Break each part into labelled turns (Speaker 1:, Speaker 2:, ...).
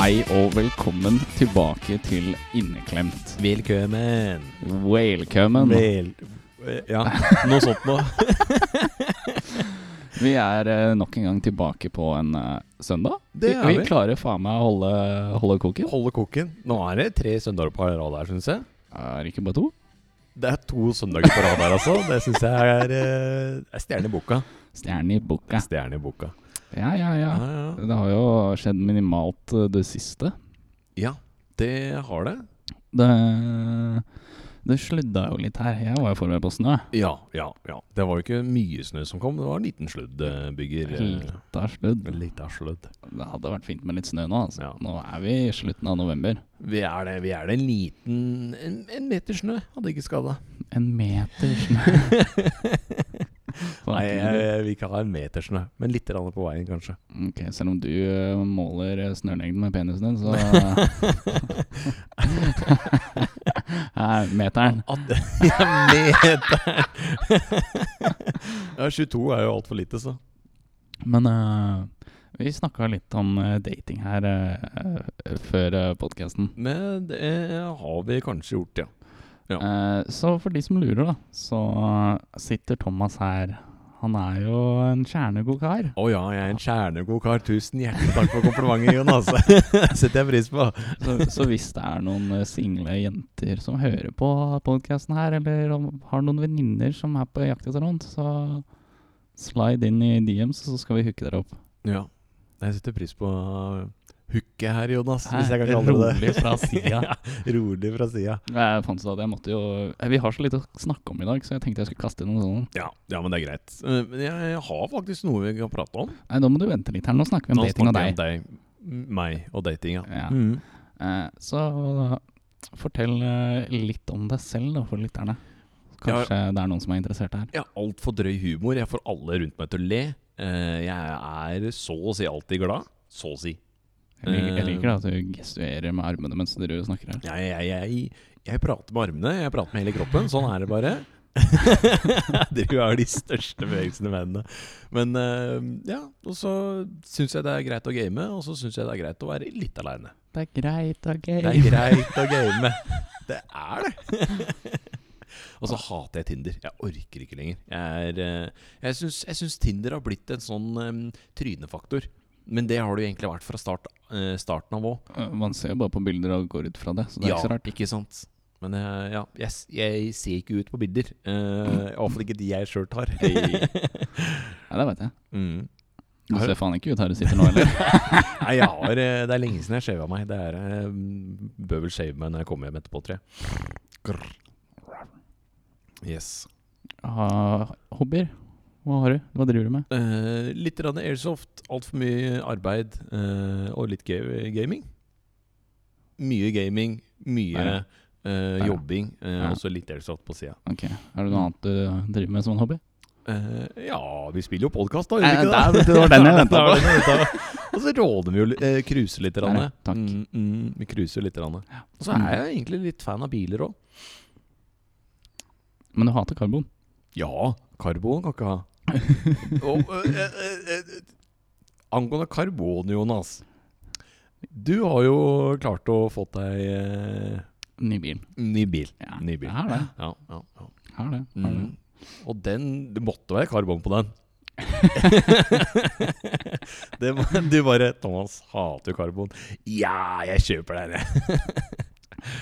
Speaker 1: Hei og velkommen tilbake til Inneklemt.
Speaker 2: Velkommen.
Speaker 1: Welcomen.
Speaker 2: Vel... Eh, Ja, noe sånt nå.
Speaker 1: Vi er eh, nok en gang tilbake på en eh, søndag.
Speaker 2: Det er
Speaker 1: vi
Speaker 2: vi.
Speaker 1: klarer faen meg å holde, holde koken.
Speaker 2: Holde koken. Nå er det tre søndager på rad her, syns jeg.
Speaker 1: Er det ikke bare to?
Speaker 2: Det er to søndager på rad her, altså. Det syns jeg er, eh, er stjerne i boka.
Speaker 1: Stjerne i boka.
Speaker 2: Stjerne i boka.
Speaker 1: Ja, ja, ja.
Speaker 2: Ja, ja.
Speaker 1: Det har jo skjedd minimalt eh, det siste.
Speaker 2: ja det har det.
Speaker 1: Det, det sludda jo litt her. Jeg var jo forberedt på snø.
Speaker 2: Ja, ja, ja. Det var jo ikke mye snø som kom, det var en liten sludd, eh, bygger. eh,
Speaker 1: Litt av sludd.
Speaker 2: Litt av sludd.
Speaker 1: Det hadde vært fint med litt snø nå. Altså.
Speaker 2: Ja.
Speaker 1: Nå er vi i slutten av november.
Speaker 2: Vi er det. Vi er det en liten En, en meter snø hadde ikke skada.
Speaker 1: En meter snø.
Speaker 2: Nei, jeg vil ikke ha en meter snø, men litt grann på veien, kanskje.
Speaker 1: Ok, Selv om du eh, måler eh, snølengden med penisen din, så er meteren.
Speaker 2: At, ja, meter! ja, 22 er jo altfor lite, så.
Speaker 1: Men eh, vi snakka litt om eh, dating her eh, eh, før uh, podkasten.
Speaker 2: Men det har vi kanskje gjort, ja.
Speaker 1: Eh, så for de som lurer, da, så sitter Thomas her. Han er jo en kjernegod kar.
Speaker 2: Å ja, jeg er en kjernegod kar. Tusen hjertelig takk for komplimentet, Jonas. Det setter jeg pris på.
Speaker 1: Så, så hvis det er noen eh, single jenter som hører på podkasten her, eller om, har noen venninner som er på jakt etter noen, så slide inn i DMs, så skal vi hooke dere opp.
Speaker 2: Ja. Jeg setter pris på hooket her, Jonas. Hvis jeg
Speaker 1: Her,
Speaker 2: kan kalle det
Speaker 1: rolig fra sida.
Speaker 2: Ja, rolig fra sida.
Speaker 1: Jeg fant ut at jeg måtte jo eh, Vi har så lite å snakke om i dag, så jeg tenkte jeg skulle kaste inn noe sånn, sånt.
Speaker 2: Ja, ja, men det er greit. Eh, Men jeg har faktisk noe vi kan prate om.
Speaker 1: Nei, nå må du vente litt her. Nå snakker vi om
Speaker 2: Nå
Speaker 1: dating og
Speaker 2: snakker jeg
Speaker 1: deg.
Speaker 2: om deg. Meg og dating, ja.
Speaker 1: Ja.
Speaker 2: Mm.
Speaker 1: Eh, Så eh, fortell eh, litt om deg selv da, for lytterne. Kanskje det er noen som er interessert her.
Speaker 2: Jeg har altfor drøy humor. Jeg får alle rundt meg til å le. Eh, Jeg er så å si alltid glad. Så å si.
Speaker 1: Jeg liker, jeg
Speaker 2: Eh.
Speaker 1: liker da at du gestuerer med armene mens du snakker her.
Speaker 2: Jeg, jeg, jeg, jeg prater med armene, jeg prater med hele kroppen. Sånn er det bare. Dere har de største bevegelsene i verden. Men eh, ja, og så syns jeg det er greit å game, og så syns jeg det er greit å være litt aleine.
Speaker 1: Det er greit, ok.
Speaker 2: Det er greit å game. Det er det. Og så hater jeg Tinder. Jeg orker ikke lenger. Jeg, er, eh, jeg, syns, jeg syns Tinder har blitt en sånn em, trynefaktor. Men det har det jo egentlig vært fra start, eh, starten av òg.
Speaker 1: Man ser jo bare på bilder og går ut fra det, så det er ikke så rart.
Speaker 2: ikke sant? Men eh, ja, jeg, s- jeg ser ikke ut på bilder. Uh, Iallfall ikke de jeg sjøl tar.
Speaker 1: Nei, det vet jeg.
Speaker 2: Mm.
Speaker 1: Du
Speaker 2: Har-
Speaker 1: ser faen ikke ut her du sitter nå heller.
Speaker 2: Nei, jeg har, eh, det er lenge siden jeg shava meg. Det er, eh, bør vel shave meg når jeg kommer hjem etterpå, tror jeg. Grr. Yes.
Speaker 1: Ah, hobbyer? Hva har du? Hva driver du med?
Speaker 2: Eh, litt grann airsoft, altfor mye arbeid eh, og litt ga- gaming. Mye gaming, mye
Speaker 1: Der,
Speaker 2: eh,
Speaker 1: Der, ja.
Speaker 2: jobbing, eh,
Speaker 1: Ja.
Speaker 2: og så litt airsoft på sida.
Speaker 1: Ok, Er det noe annet du driver med som en hobby?
Speaker 2: Eh, ja, vi spiller jo podkast, da.
Speaker 1: Nei,
Speaker 2: gjør vi
Speaker 1: der,
Speaker 2: ikke
Speaker 1: vet du, Eh, det var den jeg ventet
Speaker 2: Det var
Speaker 1: på.
Speaker 2: den jeg ventet på. Og så råder vi jo li- eh, cruiser litt. grann.
Speaker 1: Der, takk.
Speaker 2: Mm, mm, vi cruiser litt. grann. Og så er jeg egentlig litt fan av biler òg.
Speaker 1: Men du hater karbon?
Speaker 2: Ja, karbon kan ikke ha. Og, eh, eh, eh, angående karbon, Jonas. Du har jo klart å få deg eh,
Speaker 1: Ny bil.
Speaker 2: ny bil.
Speaker 1: Ja,
Speaker 2: Ny bil.
Speaker 1: Jeg har det.
Speaker 2: Ja, ja, ja.
Speaker 1: Jeg Har det. Jeg Har det.
Speaker 2: Mm. Og den Det måtte være karbon på den. det, må- du bare 'Thomas hater karbon'. Ja, jeg kjøper den, jeg.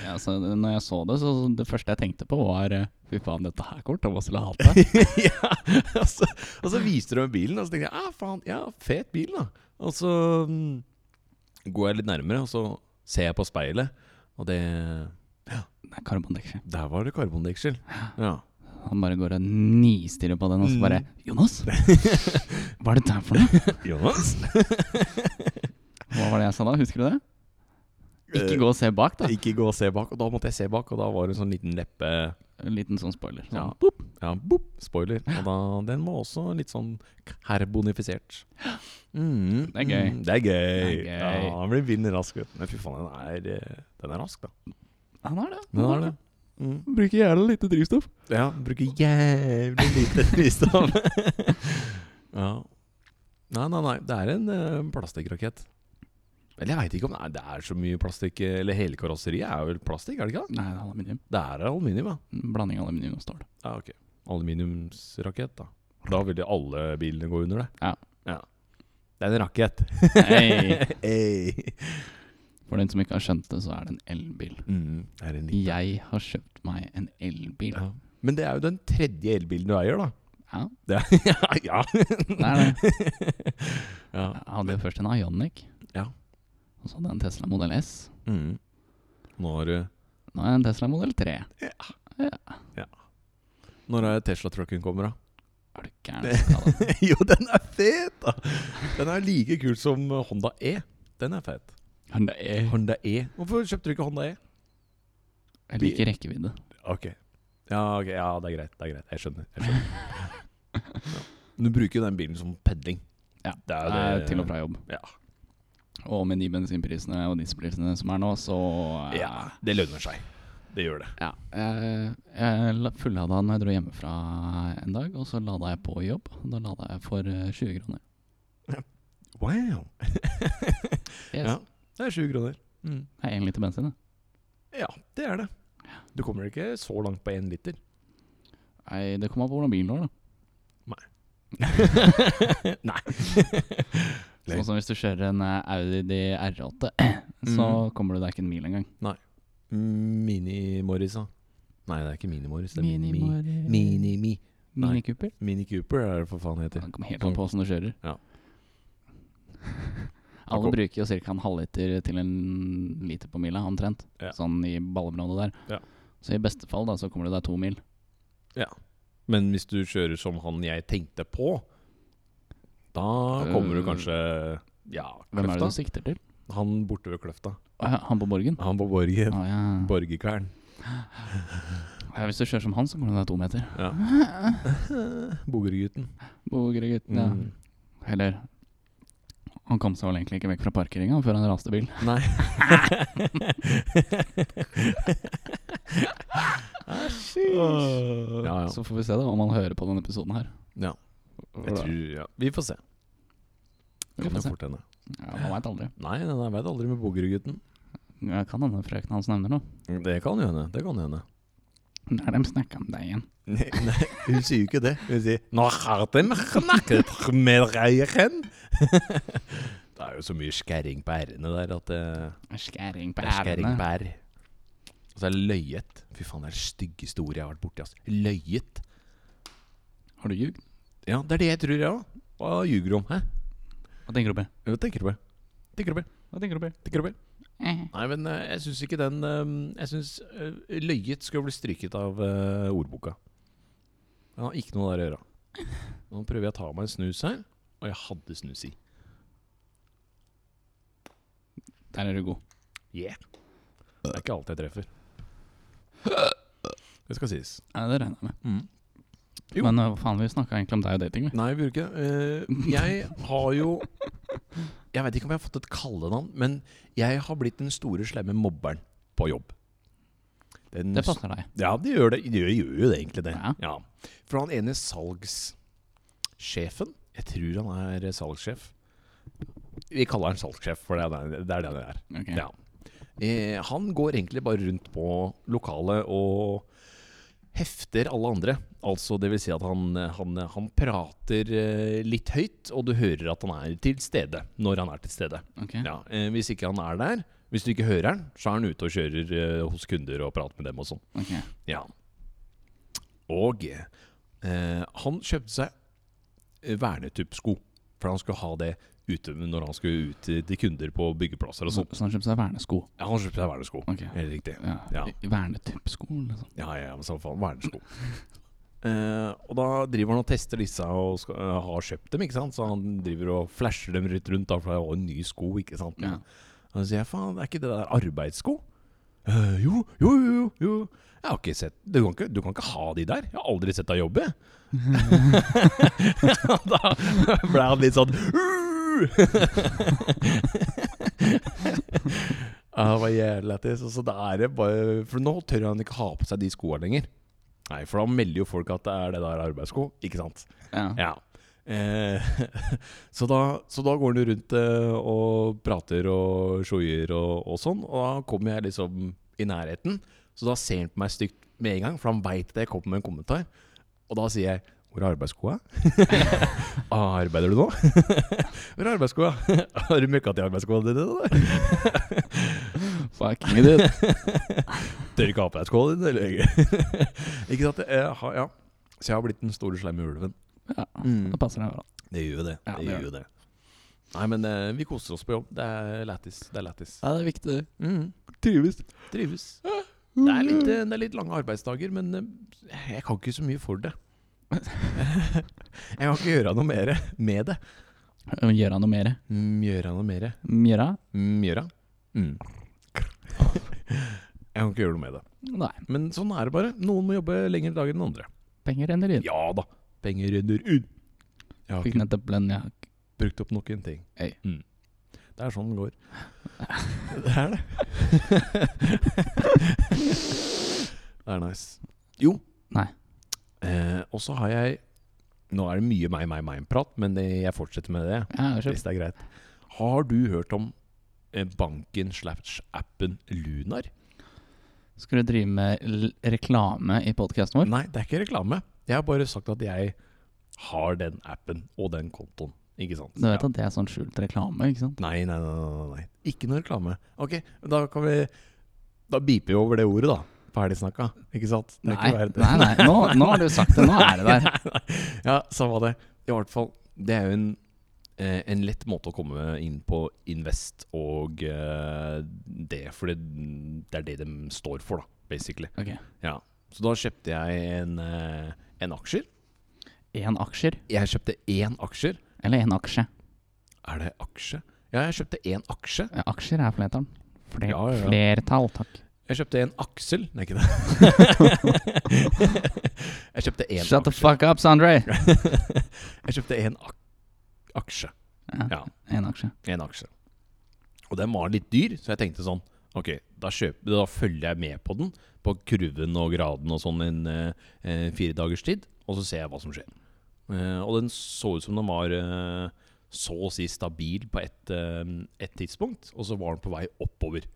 Speaker 1: Ja, så når jeg så det, så det første jeg tenkte på, var eh, Fy faen, dette her kommer Thomas til å hate.
Speaker 2: ja, og, så, og så viste du meg bilen, og så tenkte jeg ah, faen, ja, fet bil, da. Og så mm, går jeg litt nærmere, og så ser jeg på speilet, og det
Speaker 1: Det er karbondeksel.
Speaker 2: Der var det karbondeksel. Ja.
Speaker 1: Han bare går og nistirrer på den, og så bare Jonas! Hva er det der for noe?
Speaker 2: Jonas?
Speaker 1: Hva var det jeg sa da? Husker du det? Ikke gå og se bak, da.
Speaker 2: Ikke gå og se bak. Og da måtte jeg se bak, og da var det en sånn liten leppe
Speaker 1: En liten sånn spoiler. Sånn.
Speaker 2: Ja.
Speaker 1: boop.
Speaker 2: Ja, boop, spoiler. Og da, den var også litt sånn karbonifisert. Mm,
Speaker 1: Det er gøy.
Speaker 2: mm, Det er gøy.
Speaker 1: Det er gøy.
Speaker 2: Ja, han blir vill rask, vet du. Men fy faen, den er, eh, den er rask, da.
Speaker 1: Han har det.
Speaker 2: Den er det. Mm.
Speaker 1: Bruker gjerne lite drivstoff.
Speaker 2: Ja, bruker jævlig lite drivstoff. ja. Nei, nei, nei. Det er en uh, plastikkrakett. Eller jeg veit ikke om det er, det er så mye plastikk eh, Eller hele karosseriet er vel plastikk, er det ikke det?
Speaker 1: Nei, det er aluminium.
Speaker 2: Det er aluminium, ja.
Speaker 1: Blanding av aluminium og stål.
Speaker 2: Ja, ok. Aluminiumsrakett, da. Da vil jo alle bilene gå under det.
Speaker 1: Ja.
Speaker 2: Det er en rakett.
Speaker 1: Hey.
Speaker 2: Hey.
Speaker 1: For den som ikke har skjønt det, så er det en elbil.
Speaker 2: Mm, det er en liten
Speaker 1: Jeg har kjøpt meg en elbil.
Speaker 2: ja. Men det er jo den tredje elbilen du eier, da.
Speaker 1: Ja,
Speaker 2: Det er, ja,
Speaker 1: det er det.
Speaker 2: ja.
Speaker 1: Jeg hadde jo først en Ionic.
Speaker 2: Ja.
Speaker 1: Og så hadde jeg en Tesla Model S.
Speaker 2: Mm. eh, Nå har du
Speaker 1: Nå er jeg en Tesla Model 3.
Speaker 2: Når er Tesla-trucken kommer, da?
Speaker 1: Er du gæren? altså, Skal det?
Speaker 2: jo, den er fet, da! Den er like kul som Honda E. Den er fet.
Speaker 1: Men det er-
Speaker 2: Honda E. Hvorfor kjøpte du ikke Honda E?
Speaker 1: Jeg liker rekkevidde.
Speaker 2: Ok. Ja, ok, ja det er greit. det er greit Jeg skjønner. Jeg skjønner. ja. Du bruker jo den bilen som pedling.
Speaker 1: Ja,
Speaker 2: det er
Speaker 1: Det
Speaker 2: jo
Speaker 1: er
Speaker 2: det.
Speaker 1: til og fra jobb.
Speaker 2: Ja.
Speaker 1: Og med de bensinprisene og dieselprisene som er nå, så eh,
Speaker 2: ja, det lønner seg. Det gjør det.
Speaker 1: ja. Jeg, Eh, jeg la- fullada den når jeg dro hjemmefra en dag, og så lada jeg på jobb. Da lada jeg for eh, 20 kroner.
Speaker 2: Wow!
Speaker 1: Yes.
Speaker 2: Ja. Det er 20 kroner. Mm.
Speaker 1: Det er én liter bensin, det.
Speaker 2: Ja, det er det. Du kommer ikke så langt på én liter.
Speaker 1: Nei, det kommer an på hvordan bilen var, da.
Speaker 2: Nei.
Speaker 1: Sånn som hvis du kjører en eh, Audi R8, så
Speaker 2: Mm.
Speaker 1: kommer du deg ikke en mil engang.
Speaker 2: Mini-Morris, da. Nei, det er ikke Mini-Morris. Det er Mini-Mi.
Speaker 1: Mini-Mini
Speaker 2: Mini-Mi. nei.
Speaker 1: Mini-Cooper.
Speaker 2: Mini-Cooper er det for faen heter. Mm.
Speaker 1: Den kommer helt an på åssen du kjører.
Speaker 2: Ja.
Speaker 1: Alle bruker jo ca. en halvliter til en liter på mila, omtrent.
Speaker 2: Ja.
Speaker 1: Sånn i ballområdet
Speaker 2: Ja.
Speaker 1: der. Så i beste fall da, så kommer du deg to mil.
Speaker 2: Men hvis du kjører som han jeg tenkte på, da kommer
Speaker 1: Øh,
Speaker 2: du kanskje Ja,
Speaker 1: Hvem er
Speaker 2: Kløfta.
Speaker 1: det du sikter til?
Speaker 2: Han borte ved Kløfta.
Speaker 1: Å ja, Han på Borgen?
Speaker 2: Han på Borgen.
Speaker 1: Å ja.
Speaker 2: Borgerkvern.
Speaker 1: ja. Hvis du kjører som han, så kommer du deg to meter.
Speaker 2: Ja. Bogergutten.
Speaker 1: Bogergutten, ja.
Speaker 2: Mm.
Speaker 1: Eller Han kom seg vel egentlig ikke vekk fra parkeringa før han raste bil.
Speaker 2: Nei. Æsj. Ja, ja.
Speaker 1: Så får vi se da om han hører på denne episoden her.
Speaker 2: ja. Jeg tror, ja. Vi får se.
Speaker 1: Vi får se.
Speaker 2: fort hende.
Speaker 1: Ja, man veit aldri.
Speaker 2: Nei, nei, nei, jeg veit aldri med Bogerudgutten.
Speaker 1: Ja, kan hende frøken hans nevner noe.
Speaker 2: Det kan jo hende. Det kan jo hende.
Speaker 1: Nei, de snakka om deg igjen.
Speaker 2: Nei, nei, hun sier jo ikke det. Hun sier 'Nå har de snakket med reieren'. det er jo så mye skæring på r-ene der at det,
Speaker 1: Skæring på
Speaker 2: det er skæring på
Speaker 1: ærene.
Speaker 2: r. Og så er det løyet. Fy faen, det er det styggeste ordet jeg har vært borti. ass. Løyet.
Speaker 1: Har du ljugd?
Speaker 2: Ja, det er det jeg tror, jeg òg. Hva ljuger du om? Hæ?
Speaker 1: Hva tenker du på?
Speaker 2: Hva tenker du på? Tenker du på?
Speaker 1: Hva tenker du på?
Speaker 2: Tenker du på? Nei, men eh, jeg syns ikke den eh, Jeg syns eh, løyet skulle bli stryket av eh, ordboka. Den har ikke noe der å gjøre. Nå prøver jeg å ta meg en snus her, og jeg hadde snus i.
Speaker 1: Der er du god.
Speaker 2: Yeah. Det er ikke alt jeg treffer. Det skal sies.
Speaker 1: Ja, det regner jeg med.
Speaker 2: Jo.
Speaker 1: Men uh, hva faen, vi snakka egentlig om deg og dating, vi.
Speaker 2: Nei, vi gjorde ikke det. Eh, Jeg har jo Jeg vet ikke om jeg har fått et kallenavn, men jeg har blitt den store, slemme mobberen på jobb. Den
Speaker 1: Det passer deg.
Speaker 2: Ja, det gjør det. Det gjør, gjør jo det egentlig det.
Speaker 1: Ja.
Speaker 2: Ja. For han ene salgssjefen Jeg tror han er salgssjef. Vi kaller han salgssjef, for det er det- det er det han er.
Speaker 1: Ok.
Speaker 2: Ja. Eh, han går egentlig bare rundt på lokalet og hefter alle andre. Altså, det vil si at han, han, han prater eh, litt høyt, og du hører at han er til stede når han er til stede.
Speaker 1: ok.
Speaker 2: Ja, eh, Hvis ikke han er der, hvis du ikke hører han, så er han ute og kjører eh, hos kunder og prater med dem og sånn.
Speaker 1: ok.
Speaker 2: Ja. Og eh, han kjøpte seg eh, vernetuppsko, for han skulle ha det ute når han skulle ut til til kunder på byggeplasser og
Speaker 1: Så,
Speaker 2: sånn.
Speaker 1: så han kjøpte seg vernesko.
Speaker 2: Ja, han kjøpte seg vernesko.
Speaker 1: Ok.
Speaker 2: Helt riktig.
Speaker 1: Ja.
Speaker 2: Ja.
Speaker 1: I- i Vernetuppsko, liksom.
Speaker 2: Ja, ja, men samme faen. Vernesko. Eh, og da driver han og tester disse og skal, eh, har kjøpt dem, ikke sant. Så han driver og flasher dem litt rundt, da, for det var en ny sko, ikke sant.
Speaker 1: Ja.
Speaker 2: Og så sier jeg faen, er ikke det der arbeidssko? «Eh, jo, jo, jo, jo, jo. Jeg har ikke sett Du kan ikke, du kan ikke ha de der. Jeg har aldri sett deg jobbe. Og da ble han litt sånn Ja, Det var jævlig lættis. Og Så da er det bare For nå tør han ikke ha på seg de skoene lenger. Nei, for da melder jo folk at det er det der arbeidssko, ikke sant?
Speaker 1: Ja.
Speaker 2: Ja. Eh, så, da, så da går han jo rundt eh, og prater og sjoier og, og sånn, og da kommer jeg liksom i nærheten. Så da ser han på meg stygt med en gang, for han veit at jeg kommer med en kommentar. Og da sier jeg 'Hvor er arbeidsskoa?' ah, 'Arbeider du nå?' 'Hvor er arbeidsskoa?' 'Har du møkka til arbeidsskoa dine?' da?»
Speaker 1: Fuck me, dude.
Speaker 2: Tør ikke ha på deg skoa dine, eller? ikke sant? Jeg har, ja. Så jeg har blitt den store, slemme ulven.
Speaker 1: Ja,
Speaker 2: Mm.
Speaker 1: da passer det bra.
Speaker 2: Det gjør jo det.
Speaker 1: Ja,
Speaker 2: det,
Speaker 1: det
Speaker 2: gjør
Speaker 1: gjør
Speaker 2: jo det. Nei, men eh, vi koser oss på jobb. Det er lættis. Det er lættis.
Speaker 1: Ja, det er viktig. det.
Speaker 2: Mm.
Speaker 1: Trives.
Speaker 2: Trives. Det er, litt, eh, det er litt lange arbeidsdager, men eh, jeg kan ikke så mye for det. jeg kan ikke gjøre noe mer med det.
Speaker 1: Gjøre Eh, noe mer.
Speaker 2: Mm, Gjøre noe mer.
Speaker 1: Gjøre?
Speaker 2: Mm, Gjøre. Mm. jeg kan ikke gjøre noe med det.
Speaker 1: Nei.
Speaker 2: Men sånn er det bare. Noen må jobbe lengre dager enn andre.
Speaker 1: Penger renner inn.
Speaker 2: Ja da. Penger renner ut. Jeg har
Speaker 1: Fikk
Speaker 2: ikke
Speaker 1: nettopp lønn, jeg har ikke
Speaker 2: brukt opp noen ting.
Speaker 1: Ei.
Speaker 2: Mm. Det er sånn det går. Det er det. det er nice. Jo.
Speaker 1: Nei.
Speaker 2: Eh, og så har jeg Nå er det mye meg, meg, meg-prat, men det, jeg fortsetter med det.
Speaker 1: Ja, vær så
Speaker 2: Hvis det er greit. Har du hørt om eh, banken slash appen Lunar?
Speaker 1: god. Skal du drive med l reklame i podkasten vår?
Speaker 2: Nei, det er ikke reklame. Jeg har bare sagt at jeg har den appen og den kontoen. Ikke sant?
Speaker 1: Du vet
Speaker 2: Ja.
Speaker 1: at det er sånn skjult reklame, ikke sant?
Speaker 2: Nei, nei, nei, nei, nei. Ikke noe reklame. Ok, da kan vi Da beeper vi over det ordet, da. Ferdig snakka. Ikke sant? Det er
Speaker 1: Nei,
Speaker 2: ikke verre-
Speaker 1: nei, nei. Nå, nå har du sagt det. Nå er det der.
Speaker 2: Nei, nei, nei. ja, samme det. I hvert fall. Det er jo en, eh, en lett måte å komme inn på Invest og eh, det, for det, det er det de står for, da, basically.
Speaker 1: Ok.
Speaker 2: Ja. Så da kjøpte jeg en, eh, en aksjer.
Speaker 1: Én aksjer,
Speaker 2: Jeg kjøpte én aksjer.
Speaker 1: eller én aksje?
Speaker 2: Er det aksje? Ja, jeg kjøpte én aksje.
Speaker 1: Ja, Aksjer er flertall. Fler,
Speaker 2: Ja, ja, ja.
Speaker 1: Flertall, takk.
Speaker 2: Jeg kjøpte en aksel Nei, ikke det. jeg kjøpte en
Speaker 1: Shut the
Speaker 2: aksje.
Speaker 1: fuck up, Sondre!
Speaker 2: Jeg kjøpte en ak aksje. Ja.
Speaker 1: Ja, én aksje.
Speaker 2: En aksje. Og den var litt dyr, så jeg tenkte sånn Ok, da, kjøper, da følger jeg med på den, på kurven og graden og sånn en eh, eh, fire dagers tid, og så ser jeg hva som skjer. Eh, og den så ut som den var eh, så å si stabil på ett eh, ett tidspunkt, og så var den på vei oppover.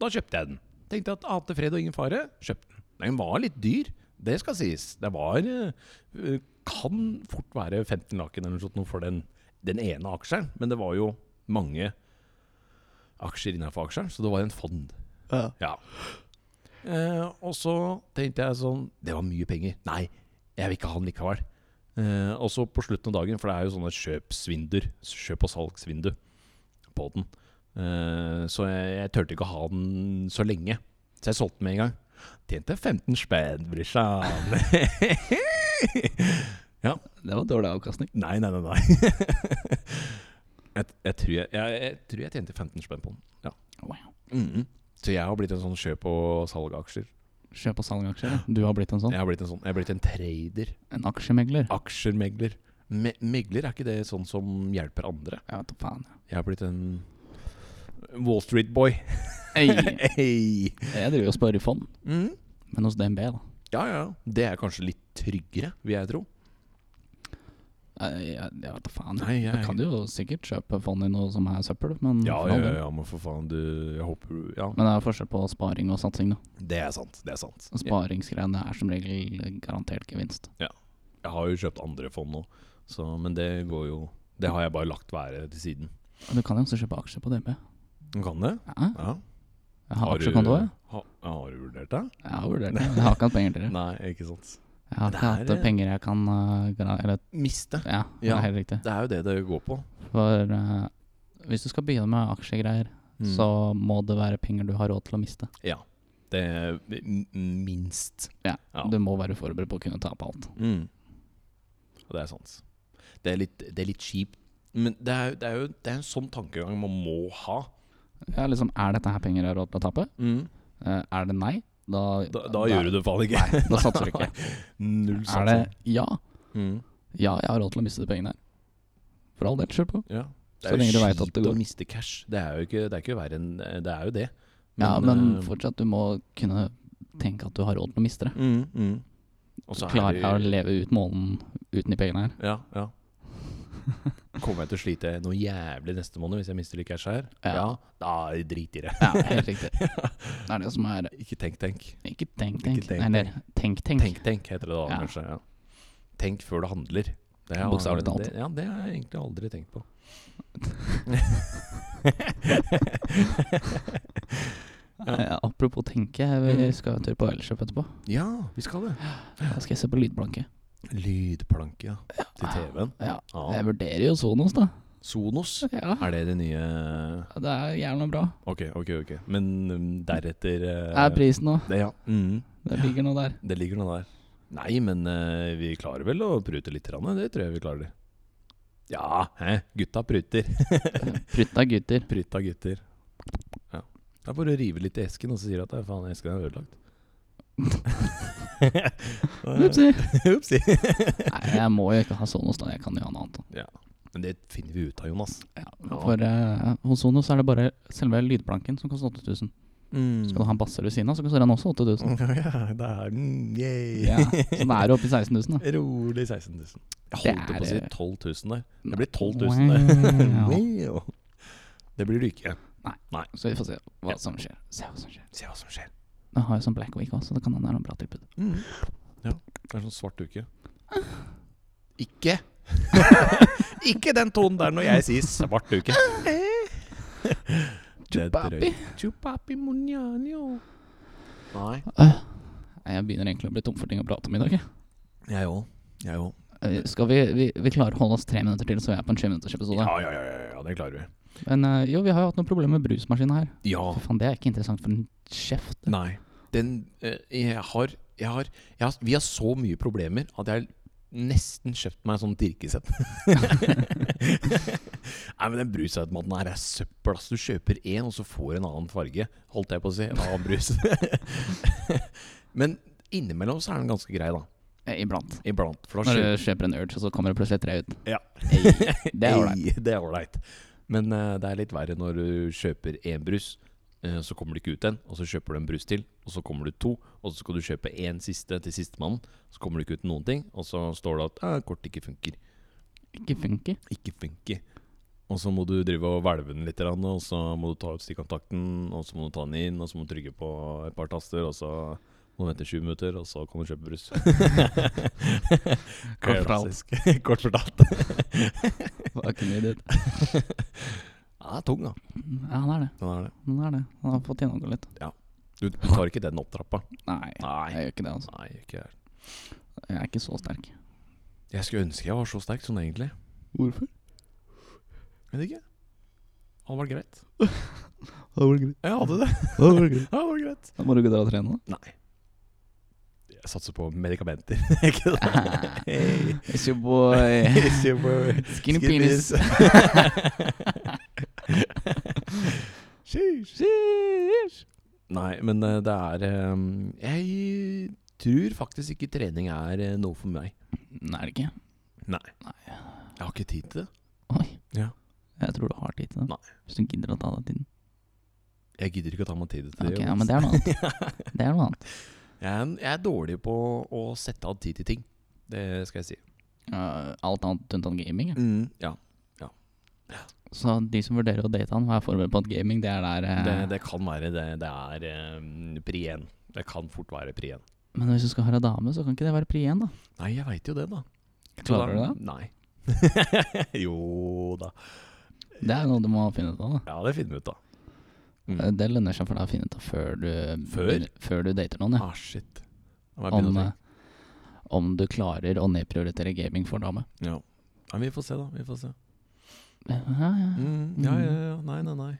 Speaker 2: Da kjøpte jeg den. Tenkte at ante fred og ingen fare. Kjøpte den. Den var litt dyr, det skal sies. Det var eh, Kan fort være 15 laken eller noe sånt noe for den, den ene aksjen, men det var jo mange aksjer innenfor aksjeren, så det var en fond.
Speaker 1: Ja.
Speaker 2: Eh, og så tenkte jeg sånn Det var mye penger. Nei, jeg vil ikke ha den likevel. Eh, og så på slutten av dagen, for det er jo sånne kjøpsvinduer, kjøp- og salgsvindu på den. Eh, så jeg, jeg turte ikke å ha den så lenge, så jeg solgte den med en gang. Tjente 15 spenn, brorsan.
Speaker 1: Det var dårlig avkastning.
Speaker 2: nei, nei, nei. nei. jeg, jeg, tror jeg, jeg, jeg tror jeg tjente 15 spenn på den. Ja.
Speaker 1: Wow.
Speaker 2: Mhm. Så jeg har blitt en sånn kjøp- og salgaksjer.
Speaker 1: Kjøp og salg av aksjer. ja. Du har blitt en sånn.
Speaker 2: Jeg har blitt en sånn, jeg har blitt en trader.
Speaker 1: En aksjemegler.
Speaker 2: Aksjermegler. Me megler, er ikke det sånn som hjelper andre?
Speaker 1: Jeg vet da faen.
Speaker 2: Jeg har blitt en Wall Street Boy.
Speaker 1: Ei,
Speaker 2: Hey.
Speaker 1: jeg driver og sparer i fond,
Speaker 2: Mm.
Speaker 1: men hos DNB, da.
Speaker 2: Ja, ja. Det er kanskje litt tryggere, vil jeg tro.
Speaker 1: Jeg, jeg, jeg vet da faen.
Speaker 2: Nei, jeg-
Speaker 1: Du kan jo sikkert kjøpe fond i noe som er søppel, men for all del.
Speaker 2: men for faen, du Jeg håper du Ja.
Speaker 1: Men det er forskjell på sparing og satsing, da.
Speaker 2: Det er sant. Det er sant. Jeg,
Speaker 1: Sparingsgreiene er som regel garantert gevinst.
Speaker 2: jeg har jo kjøpt andre fond nå, så Men det går jo Det har jeg bare lagt være til siden.
Speaker 1: Og Du kan jo også kjøpe aksjer på DNB.
Speaker 2: Du kan det?
Speaker 1: Ja,
Speaker 2: Ja.
Speaker 1: jeg har aksjekonto, jeg.
Speaker 2: ha, har du vurdert det?
Speaker 1: Jeg har vurdert det. men Jeg har ikke hatt penger til det.
Speaker 2: Nei, ikke sant.
Speaker 1: Jeg har
Speaker 2: Det
Speaker 1: ikke hatt
Speaker 2: er-
Speaker 1: eh, penger jeg kan eh, gara- Eller
Speaker 2: Miste.
Speaker 1: ja, det
Speaker 2: Ja.
Speaker 1: er helt riktig.
Speaker 2: Det er jo det det går på.
Speaker 1: For eh, hvis du skal begynne med aksjegreier,
Speaker 2: Mm.
Speaker 1: så må det være penger du har råd til å miste.
Speaker 2: Ja. Det er m- minst.
Speaker 1: Ja,
Speaker 2: Ja.
Speaker 1: Du må være forberedt på å kunne tape alt.
Speaker 2: Mm. Og det er sant. Det er litt, det er litt kjipt. Men det er, jo- det, er jo, det er en sånn tankegang man må ha.
Speaker 1: Ja, liksom, er dette her penger jeg har råd til å tape?
Speaker 2: Mm.
Speaker 1: Eh, er det nei, da
Speaker 2: Da, da gjør du det faen ikke.
Speaker 1: Nei, da satser du ikke.
Speaker 2: Null
Speaker 1: er det
Speaker 2: satsing.
Speaker 1: ja?
Speaker 2: Mm.
Speaker 1: Ja, jeg har råd til å miste de pengene her. For all del, kjør på.
Speaker 2: Ja.
Speaker 1: Så lenge du vet at det
Speaker 2: å
Speaker 1: går.
Speaker 2: miste cash. Det er jo ikke, det er ikke verre enn eh, Det er jo det.
Speaker 1: ja, men
Speaker 2: eh,
Speaker 1: fortsatt, du må kunne tenke at du har råd til å miste det.
Speaker 2: mm, mm. Og så er
Speaker 1: Klarer
Speaker 2: det-
Speaker 1: jeg å leve ut måneden uten de pengene her?
Speaker 2: Ja, ja. Kommer jeg til å slite noe jævlig neste måned hvis jeg mister litt cash her?
Speaker 1: Ja.
Speaker 2: Da driter jeg.
Speaker 1: Ja, helt riktig. Det er det som er
Speaker 2: Ikke tenk, tenk.
Speaker 1: Ikke tenk,
Speaker 2: Ikke
Speaker 1: tenk.
Speaker 2: tenk,
Speaker 1: Eller tenk, tenk.
Speaker 2: Tenk, tenk, heter det da
Speaker 1: Ja.
Speaker 2: kanskje. Ja. Tenk før du handler. Det har-
Speaker 1: Bokstavelig talt.
Speaker 2: Det, ja, det har jeg egentlig aldri tenkt på.
Speaker 1: Eh, apropos tenke, vi
Speaker 2: Mm.
Speaker 1: skal en tur på Elkjøp etterpå.
Speaker 2: Ja, vi skal det.
Speaker 1: Da skal jeg se på lydplanke.
Speaker 2: Lydplanke, ja. Til TV-en.
Speaker 1: Ja,
Speaker 2: Ja.
Speaker 1: Jeg vurderer jo Sonos, da.
Speaker 2: Sonos.
Speaker 1: Ja,
Speaker 2: Er det det nye
Speaker 1: Det er jævla bra.
Speaker 2: Ok, ok, ok. Men um, deretter eh,
Speaker 1: Er prisen nå?
Speaker 2: det, ja. mm,
Speaker 1: Det ligger noe der.
Speaker 2: det ligger noe der. Nei, men eh, vi klarer vel å prute litt. grann, Det tror jeg vi klarer. Ja, hæ? Gutta pruter.
Speaker 1: Prutta gutter.
Speaker 2: Pruta gutter. Ja. Det er bare å rive litt i esken, og så sier du at «Nei, faen, esken er ødelagt.
Speaker 1: Upsi.
Speaker 2: Upsi.
Speaker 1: Nei, jeg må jo ikke ha Sonos, da. Jeg kan jo ha noe annet. da.
Speaker 2: Men det finner vi ut av, Jonas.
Speaker 1: Ja, for eh, hos Sonos er det bare selve lydplanken som koster 8000.
Speaker 2: Mm.
Speaker 1: Skal du ha en basser ved siden av, så koster den også 8000.
Speaker 2: ja, det er mm, yay.
Speaker 1: Ja, så da er du oppe i 16 000, da.
Speaker 2: Rolig 16 000. Jeg
Speaker 1: Det
Speaker 2: holdt på å si
Speaker 1: er-
Speaker 2: 12 000 der. Det blir 12 000 der.
Speaker 1: Wow.
Speaker 2: Wow. Det blir du ikke.
Speaker 1: Så vi får se hva som skjer. Se hva som skjer.
Speaker 2: Se hva som skjer.
Speaker 1: Da har jeg sånn Black Week også, så det kan hende det er noe bra tilbud.
Speaker 2: Mm. Ja, det er sånn svart uke. Ikke! ikke den tonen der når jeg sier svart uke. Det er drøyt. Chupapi munjanio. Nei.
Speaker 1: Nei, Jeg begynner egentlig å bli tom for ting å prate om i dag. jeg.
Speaker 2: Jeg òg. Jeg òg.
Speaker 1: Eh, Skal vi, vi, vi klarer å holde oss tre minutter til, så vi er på en sjuminuttersepisode.
Speaker 2: Ja, ja, ja, ja, ja, det klarer vi.
Speaker 1: Men eh, jo, vi har jo hatt noen problemer med brusmaskinen her.
Speaker 2: Ja.
Speaker 1: For faen, det er ikke interessant for en kjeft.
Speaker 2: Nei. Den eh, Jeg har Jeg har, jeg har Vi har så mye problemer at jeg har nesten kjøpt meg en sånn dirkesett. Nei, men den brusautomaten her er søppel. ass. Du kjøper én, og så får en annen farge. Holdt jeg på å si. En annen brus. men innimellom så er den ganske grei, da.
Speaker 1: Eh, Iblant.
Speaker 2: Iblant. For da
Speaker 1: Når du
Speaker 2: kjøper
Speaker 1: kjøper en urge, og så kommer det plutselig tre ut.
Speaker 2: Ja.
Speaker 1: Ei, det er ålreit.
Speaker 2: Ei, det er ålreit. Men eh, det er litt verre når du kjøper én brus, eh, så kommer det ikke ut en, og så kjøper du en brus til, og så kommer det to, og så skal du kjøpe én siste til sistemann, så kommer det ikke ut noen ting, og så står det at eh, kortet ikke funker.
Speaker 1: Ikke funker.
Speaker 2: Ikke funker. Og så må du drive og hvelve den litt, grann, og så må du ta ut stikkontakten, og så må du ta den inn, og så må du trykke på et par taster, og så må du vente 20 minutter, og så kan du kjøpe brus.
Speaker 1: Kort fortalt.
Speaker 2: Klassisk. Kort fortalt.
Speaker 1: Fucking idiot.
Speaker 2: Ja, det er tung, da.
Speaker 1: Ja, han er det.
Speaker 2: Den er det.
Speaker 1: Han er det. Han har fått gjennomgå litt.
Speaker 2: Du, du tar ikke den opp trappa?
Speaker 1: Nei, jeg
Speaker 2: Nei.
Speaker 1: gjør ikke det, altså.
Speaker 2: Nei, ikke jeg.
Speaker 1: Jeg er ikke så sterk.
Speaker 2: Jeg skulle ønske jeg var så sterk sånn egentlig.
Speaker 1: Hvorfor?
Speaker 2: Vet ikke. Hadde vært greit.
Speaker 1: Det var greit.
Speaker 2: Jeg hadde det.
Speaker 1: Det var greit.
Speaker 2: Hadde vært greit.
Speaker 1: Da må du ikke dra og trene, da.
Speaker 2: Nei. Jeg satser på medikamenter. ikke det? Hey.
Speaker 1: It's your boy.
Speaker 2: It's your boy.
Speaker 1: Skinny penis.
Speaker 2: Sheesh. Nei, men eh, det er eh, Jeg tror faktisk ikke trening er eh, noe for meg.
Speaker 1: Nei, er det ikke?
Speaker 2: Jeg har ikke tid til det.
Speaker 1: Oi.
Speaker 2: Ja.
Speaker 1: Jeg tror du har tid til det.
Speaker 2: Nei.
Speaker 1: Hvis du gidder å ta deg tiden.
Speaker 2: Jeg gidder ikke å ta meg tid til
Speaker 1: Ok,
Speaker 2: det.
Speaker 1: ja, men det er noe annet. Det er noe annet.
Speaker 2: Jeg er, en- jeg er dårlig på å sette av tid til ting. Det skal jeg si.
Speaker 1: Eh, alt annet unntatt gaming. ja.
Speaker 2: Ja,
Speaker 1: Så de som vurderer å date han, vær forberedt på at gaming, det er der eh,
Speaker 2: det, det kan være det. Det er eh, pri én. Det kan fort være pri én.
Speaker 1: Men hvis du skal ha ei dame, så kan ikke det være pri én, da.
Speaker 2: Nei, jeg veit jo det, da.
Speaker 1: Klarer du det?
Speaker 2: Nei. jo da.
Speaker 1: Det er noe du må finne ut av, da.
Speaker 2: Ja, det finner vi ut, da.
Speaker 1: Eh, Det lønner seg for deg å finne ut av før du
Speaker 2: Mm. Før?
Speaker 1: før du dater noen, ja.
Speaker 2: Ah, shit. Da må
Speaker 1: Om,
Speaker 2: jeg begynne å
Speaker 1: eh, om du klarer å nedprioritere gaming for dame.
Speaker 2: tenke. ja. Nei, vi får se, da. Vi får se.
Speaker 1: Ja, ja. ja.
Speaker 2: Mm, ja, ja, ja. Nei, nei, nei.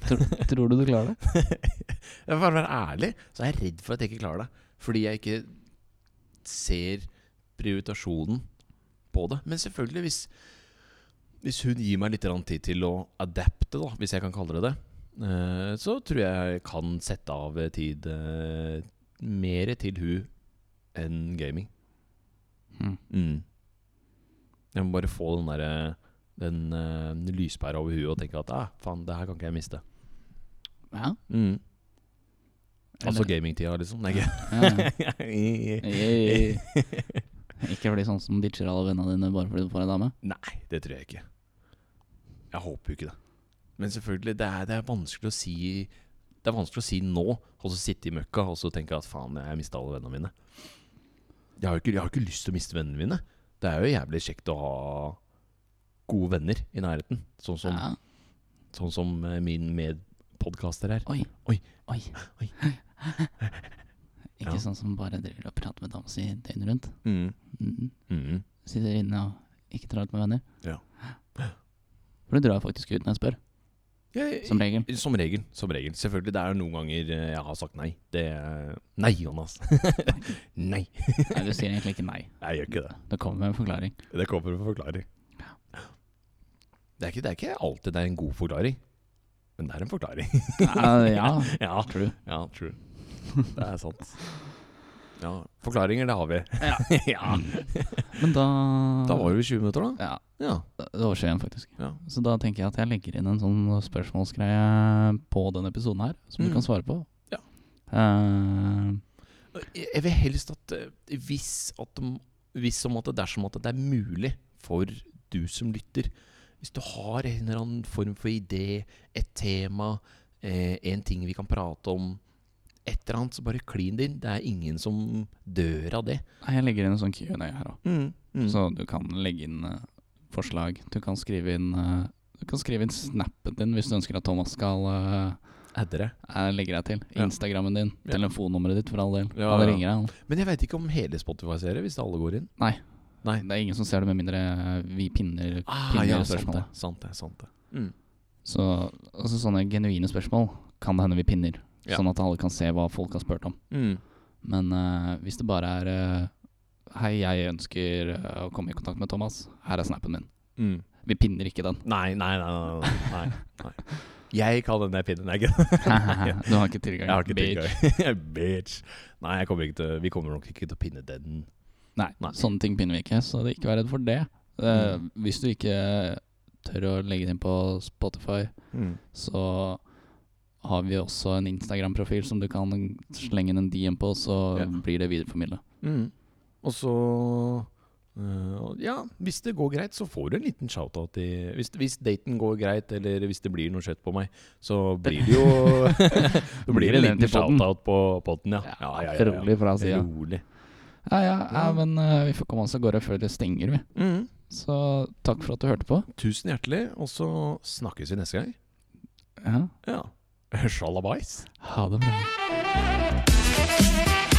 Speaker 1: Tror du du klarer det?
Speaker 2: Jeg vil bare være ærlig, så er jeg redd for at jeg ikke klarer det. Fordi jeg ikke ser prioritasjonen på det. Men selvfølgelig, hvis, hvis hun gir meg litt grann tid til å adapte, da, hvis jeg kan kalle det det, eh, så tror jeg jeg kan sette av eh, tid eh, mer til hun enn gaming.
Speaker 1: Mm.
Speaker 2: Mm. Jeg må bare få den derre den eh, lyspæra over huet og tenke at ah, faen, det her kan ikke jeg miste.
Speaker 1: Ja.
Speaker 2: Mm. Altså
Speaker 1: Eller-
Speaker 2: gamingtida, liksom. Nei, ikke.
Speaker 1: ja,
Speaker 2: Nei,
Speaker 1: ja. Ikke bli sånn som ditcher alle vennene dine bare fordi du får ei dame.
Speaker 2: det tror jeg ikke. Jeg håper jo ikke det. Men selvfølgelig, det er, det er vanskelig å si Det er vanskelig å si nå, og så sitte i møkka og så tenke at faen, jeg mista alle vennene mine. Jeg har jo ikke, jeg har ikke lyst til å miste vennene mine. Det er jo jævlig kjekt å ha gode venner i nærheten. Sånn som,
Speaker 1: Ja.
Speaker 2: sånn som eh, min medpodkaster her.
Speaker 1: Oi.
Speaker 2: Oi.
Speaker 1: Oi.
Speaker 2: Oi.
Speaker 1: Ikke
Speaker 2: Ja.
Speaker 1: sånn som bare driver og prater med dama si døgnet rundt.
Speaker 2: Mm.
Speaker 1: Mm.
Speaker 2: Mm.
Speaker 1: Sitter inne og ikke drar ut med venner.
Speaker 2: Ja.
Speaker 1: For du drar faktisk ut når jeg spør,
Speaker 2: Jeg,
Speaker 1: som regel.
Speaker 2: Som regel. som regel Selvfølgelig. Det er noen ganger eh, jeg har sagt nei. Det er- Nei, Jonas! nei!
Speaker 1: Nei, du sier egentlig ikke nei.
Speaker 2: Jeg gjør ikke det.
Speaker 1: Det kommer med en forklaring.
Speaker 2: Det kommer en forklaring. Det er, ikke, det er ikke alltid det er en god forklaring, men det er en forklaring.
Speaker 1: Ja, Ah, ja
Speaker 2: ja,
Speaker 1: true.
Speaker 2: ja, true. Det er sant. Ja, Forklaringer, det har vi. ja.
Speaker 1: Men da
Speaker 2: Da var det jo 20 minutter, da.
Speaker 1: Ja,
Speaker 2: Ja.
Speaker 1: det var skjeen, faktisk.
Speaker 2: Ja.
Speaker 1: Så da tenker jeg at jeg legger inn en sånn spørsmålsgreie på denne episoden her, som
Speaker 2: Mm.
Speaker 1: du kan svare på.
Speaker 2: Ja.
Speaker 1: Eh,
Speaker 2: Jeg jeg vil helst at eh, hvis, at de- hvis om at det dersom at det er mulig for du som lytter Hvis du har en eller annen form for idé, et tema, eh, en ting vi kan prate om Et eller annet, så bare klin det inn. Det er ingen som dør av det.
Speaker 1: nei, jeg legger inn en sånn Q&A her òg,
Speaker 2: Mm,
Speaker 1: så du kan legge inn eh, forslag. Du kan skrive inn eh, Du kan skrive inn snappen din hvis du ønsker at Thomas skal eh,
Speaker 2: Adder det.
Speaker 1: Jeg legger deg til.
Speaker 2: Ja.
Speaker 1: Instagrammen din.
Speaker 2: Ja.
Speaker 1: Telefonnummeret ditt, for all del.
Speaker 2: Ja,
Speaker 1: Han
Speaker 2: ja.
Speaker 1: ringer deg,
Speaker 2: Men jeg veit ikke om hele Spotify ser det, hvis alle går inn.
Speaker 1: han. Det er ingen som ser det, med mindre eh, vi pinner
Speaker 2: Ah,
Speaker 1: Pinner
Speaker 2: ja,
Speaker 1: spørsmålet.
Speaker 2: sant det. Sant det, sant det. Mm.
Speaker 1: Så altså, sånne genuine spørsmål kan det hende vi pinner.
Speaker 2: Ja.
Speaker 1: Sånn at alle kan se hva folk har spurt om.
Speaker 2: Mm.
Speaker 1: Men eh, hvis det bare er eh, Hei, jeg ønsker eh, å komme i kontakt med Thomas. Her er snappen min.
Speaker 2: Mm.
Speaker 1: Vi pinner ikke den.
Speaker 2: Nei, nei, nei. nei, nei, nei. Jeg kan den der pinnen, jeg.
Speaker 1: du har ikke tilgang.
Speaker 2: Jeg har ikke
Speaker 1: bitch.
Speaker 2: tilgang. Bitch. Nei, jeg kommer ikke til, vi kommer nok ikke til å pinne den.
Speaker 1: Nei,
Speaker 2: Nei.
Speaker 1: sånne ting pinner vi ikke, så det ikke vær redd for det. Eh, Hvis du ikke tør å legge det inn på Spotify,
Speaker 2: Mm.
Speaker 1: så har vi også en Instagram-profil som du kan slenge inn en DM på, så
Speaker 2: Ja.
Speaker 1: blir det videreformidla.
Speaker 2: Mm. Og så øh, Ja, hvis det går greit, så får du en liten shout-out. i- Hvis, hvis daten går greit, eller hvis det blir noe skjøtt på meg, så blir det jo Da blir det en
Speaker 1: Nevnt i
Speaker 2: liten
Speaker 1: podden.
Speaker 2: shout-out på potten, ja.
Speaker 1: Rolig fra sida.
Speaker 2: Rolig.
Speaker 1: Ja, ja, ja,
Speaker 2: Ja.
Speaker 1: men eh, vi får komme oss av gårde før det stenger, vi.
Speaker 2: Mm.
Speaker 1: Så takk for at du hørte på.
Speaker 2: Tusen hjertelig, og så snakkes vi neste gang.
Speaker 1: Ja.
Speaker 2: Ja. Sjalabais.
Speaker 1: Ha det bra.
Speaker 3: Thank you.